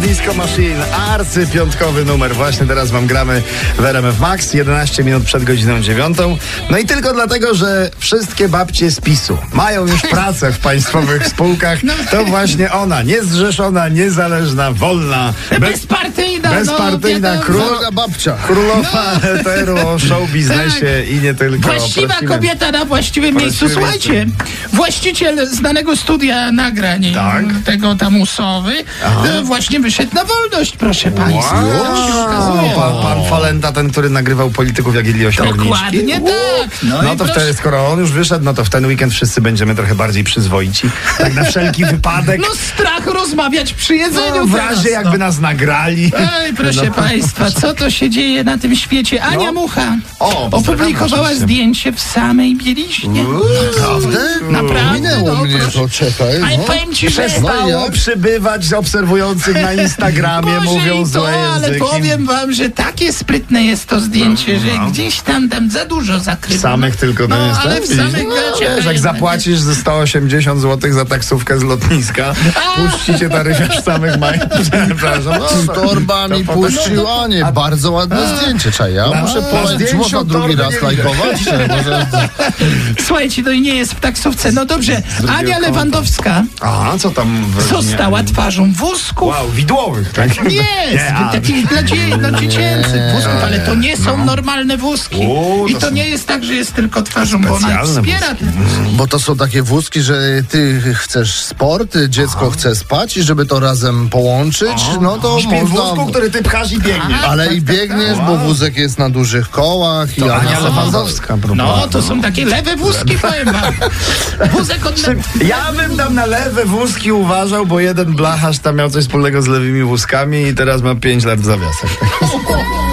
Disco Machine, arcypiątkowy numer. Właśnie teraz wam gramy w RMF Max, 11 minut przed godziną 9. No i tylko dlatego, że wszystkie babcie z PiSu mają już pracę w państwowych spółkach, No. to właśnie ona, niezrzeszona, niezależna, wolna, bez, Bezpartyjna, bezpartyjna, no, król, wiadomo. No. babcia. królowa eteru o show biznesie i nie tylko. Tak. Właściwa Prosimy. kobieta na właściwym miejscu. Prosimy. Słuchajcie, właściciel znanego studia nagrań Tak. m, tego tam usowy e, właśnie wyszedł na wolność, proszę państwa. Tak się Wow, okazuje. pan, pan Falenta, ten, który nagrywał polityków jak jedli osiągniczki. Dokładnie tak. No, No, i to proszę- wtedy, skoro on już wyszedł, no to w ten weekend wszyscy będziemy trochę bardziej przyzwoici. Tak na wszelki wypadek. No strach rozmawiać przy jedzeniu No, w teraz, razie jakby nas nagrali. No. Ej, proszę państwa, co to się dzieje na tym świecie? Ania Mucha O, pozdrawiam opublikowała oczywiście. zdjęcie w samej bieliźnie. Naprawdę? Mm. Naprawdę, Minęło no, mnie proszę. to, czekaj. Ale No. powiem ci, że No, Przestało jak? przybywać z obserwujących na Instagramie, Może mówią i złe to, ale języki. powiem wam, że takie sprytne jest to zdjęcie, że gdzieś tam tam za dużo W zakrywa. samych tylko no, na ale w Instagramie. samych gaciach. Wiesz, jak jednak. zapłacisz ze 180 zł za taksówkę z lotniska, puści cię taryfiarz w samych majtach. Przepraszam. No, Z to- torbami to potem- puścił, a nie, bardzo ładne zdjęcie, czaj. Ja muszę po polecić, zdjęciu można drugi torby raz nie lajkować, czy może... Słuchajcie, to i nie jest w taksówce. No dobrze, Ania kąta. Lewandowska A, co tam? w- została twarzą wózków. Wow, widłowych, tak? Jest, Nie, a- No. takich dla, dzie- dla dziecięcych wózków, ale to nie są normalne wózki. U, I to to są nie jest tak, że jest tylko twarzą, bo ona specjalne wspiera te Bo to są takie wózki, że ty chcesz sport, dziecko chce spać i żeby to razem połączyć, no to Śpię w wózku, można... który ty pchasz i biegniesz. Ale i biegniesz, bo wózek jest na dużych kołach i Ania Lewandowska No, to są takie lewe wózki, powiem wam. Wózek od lew... Ja bym tam na lewe wózki uważał, bo jeden blacharz tam miał coś wspólnego z lewymi wózkami i teraz ma 5 lat w zawiasach.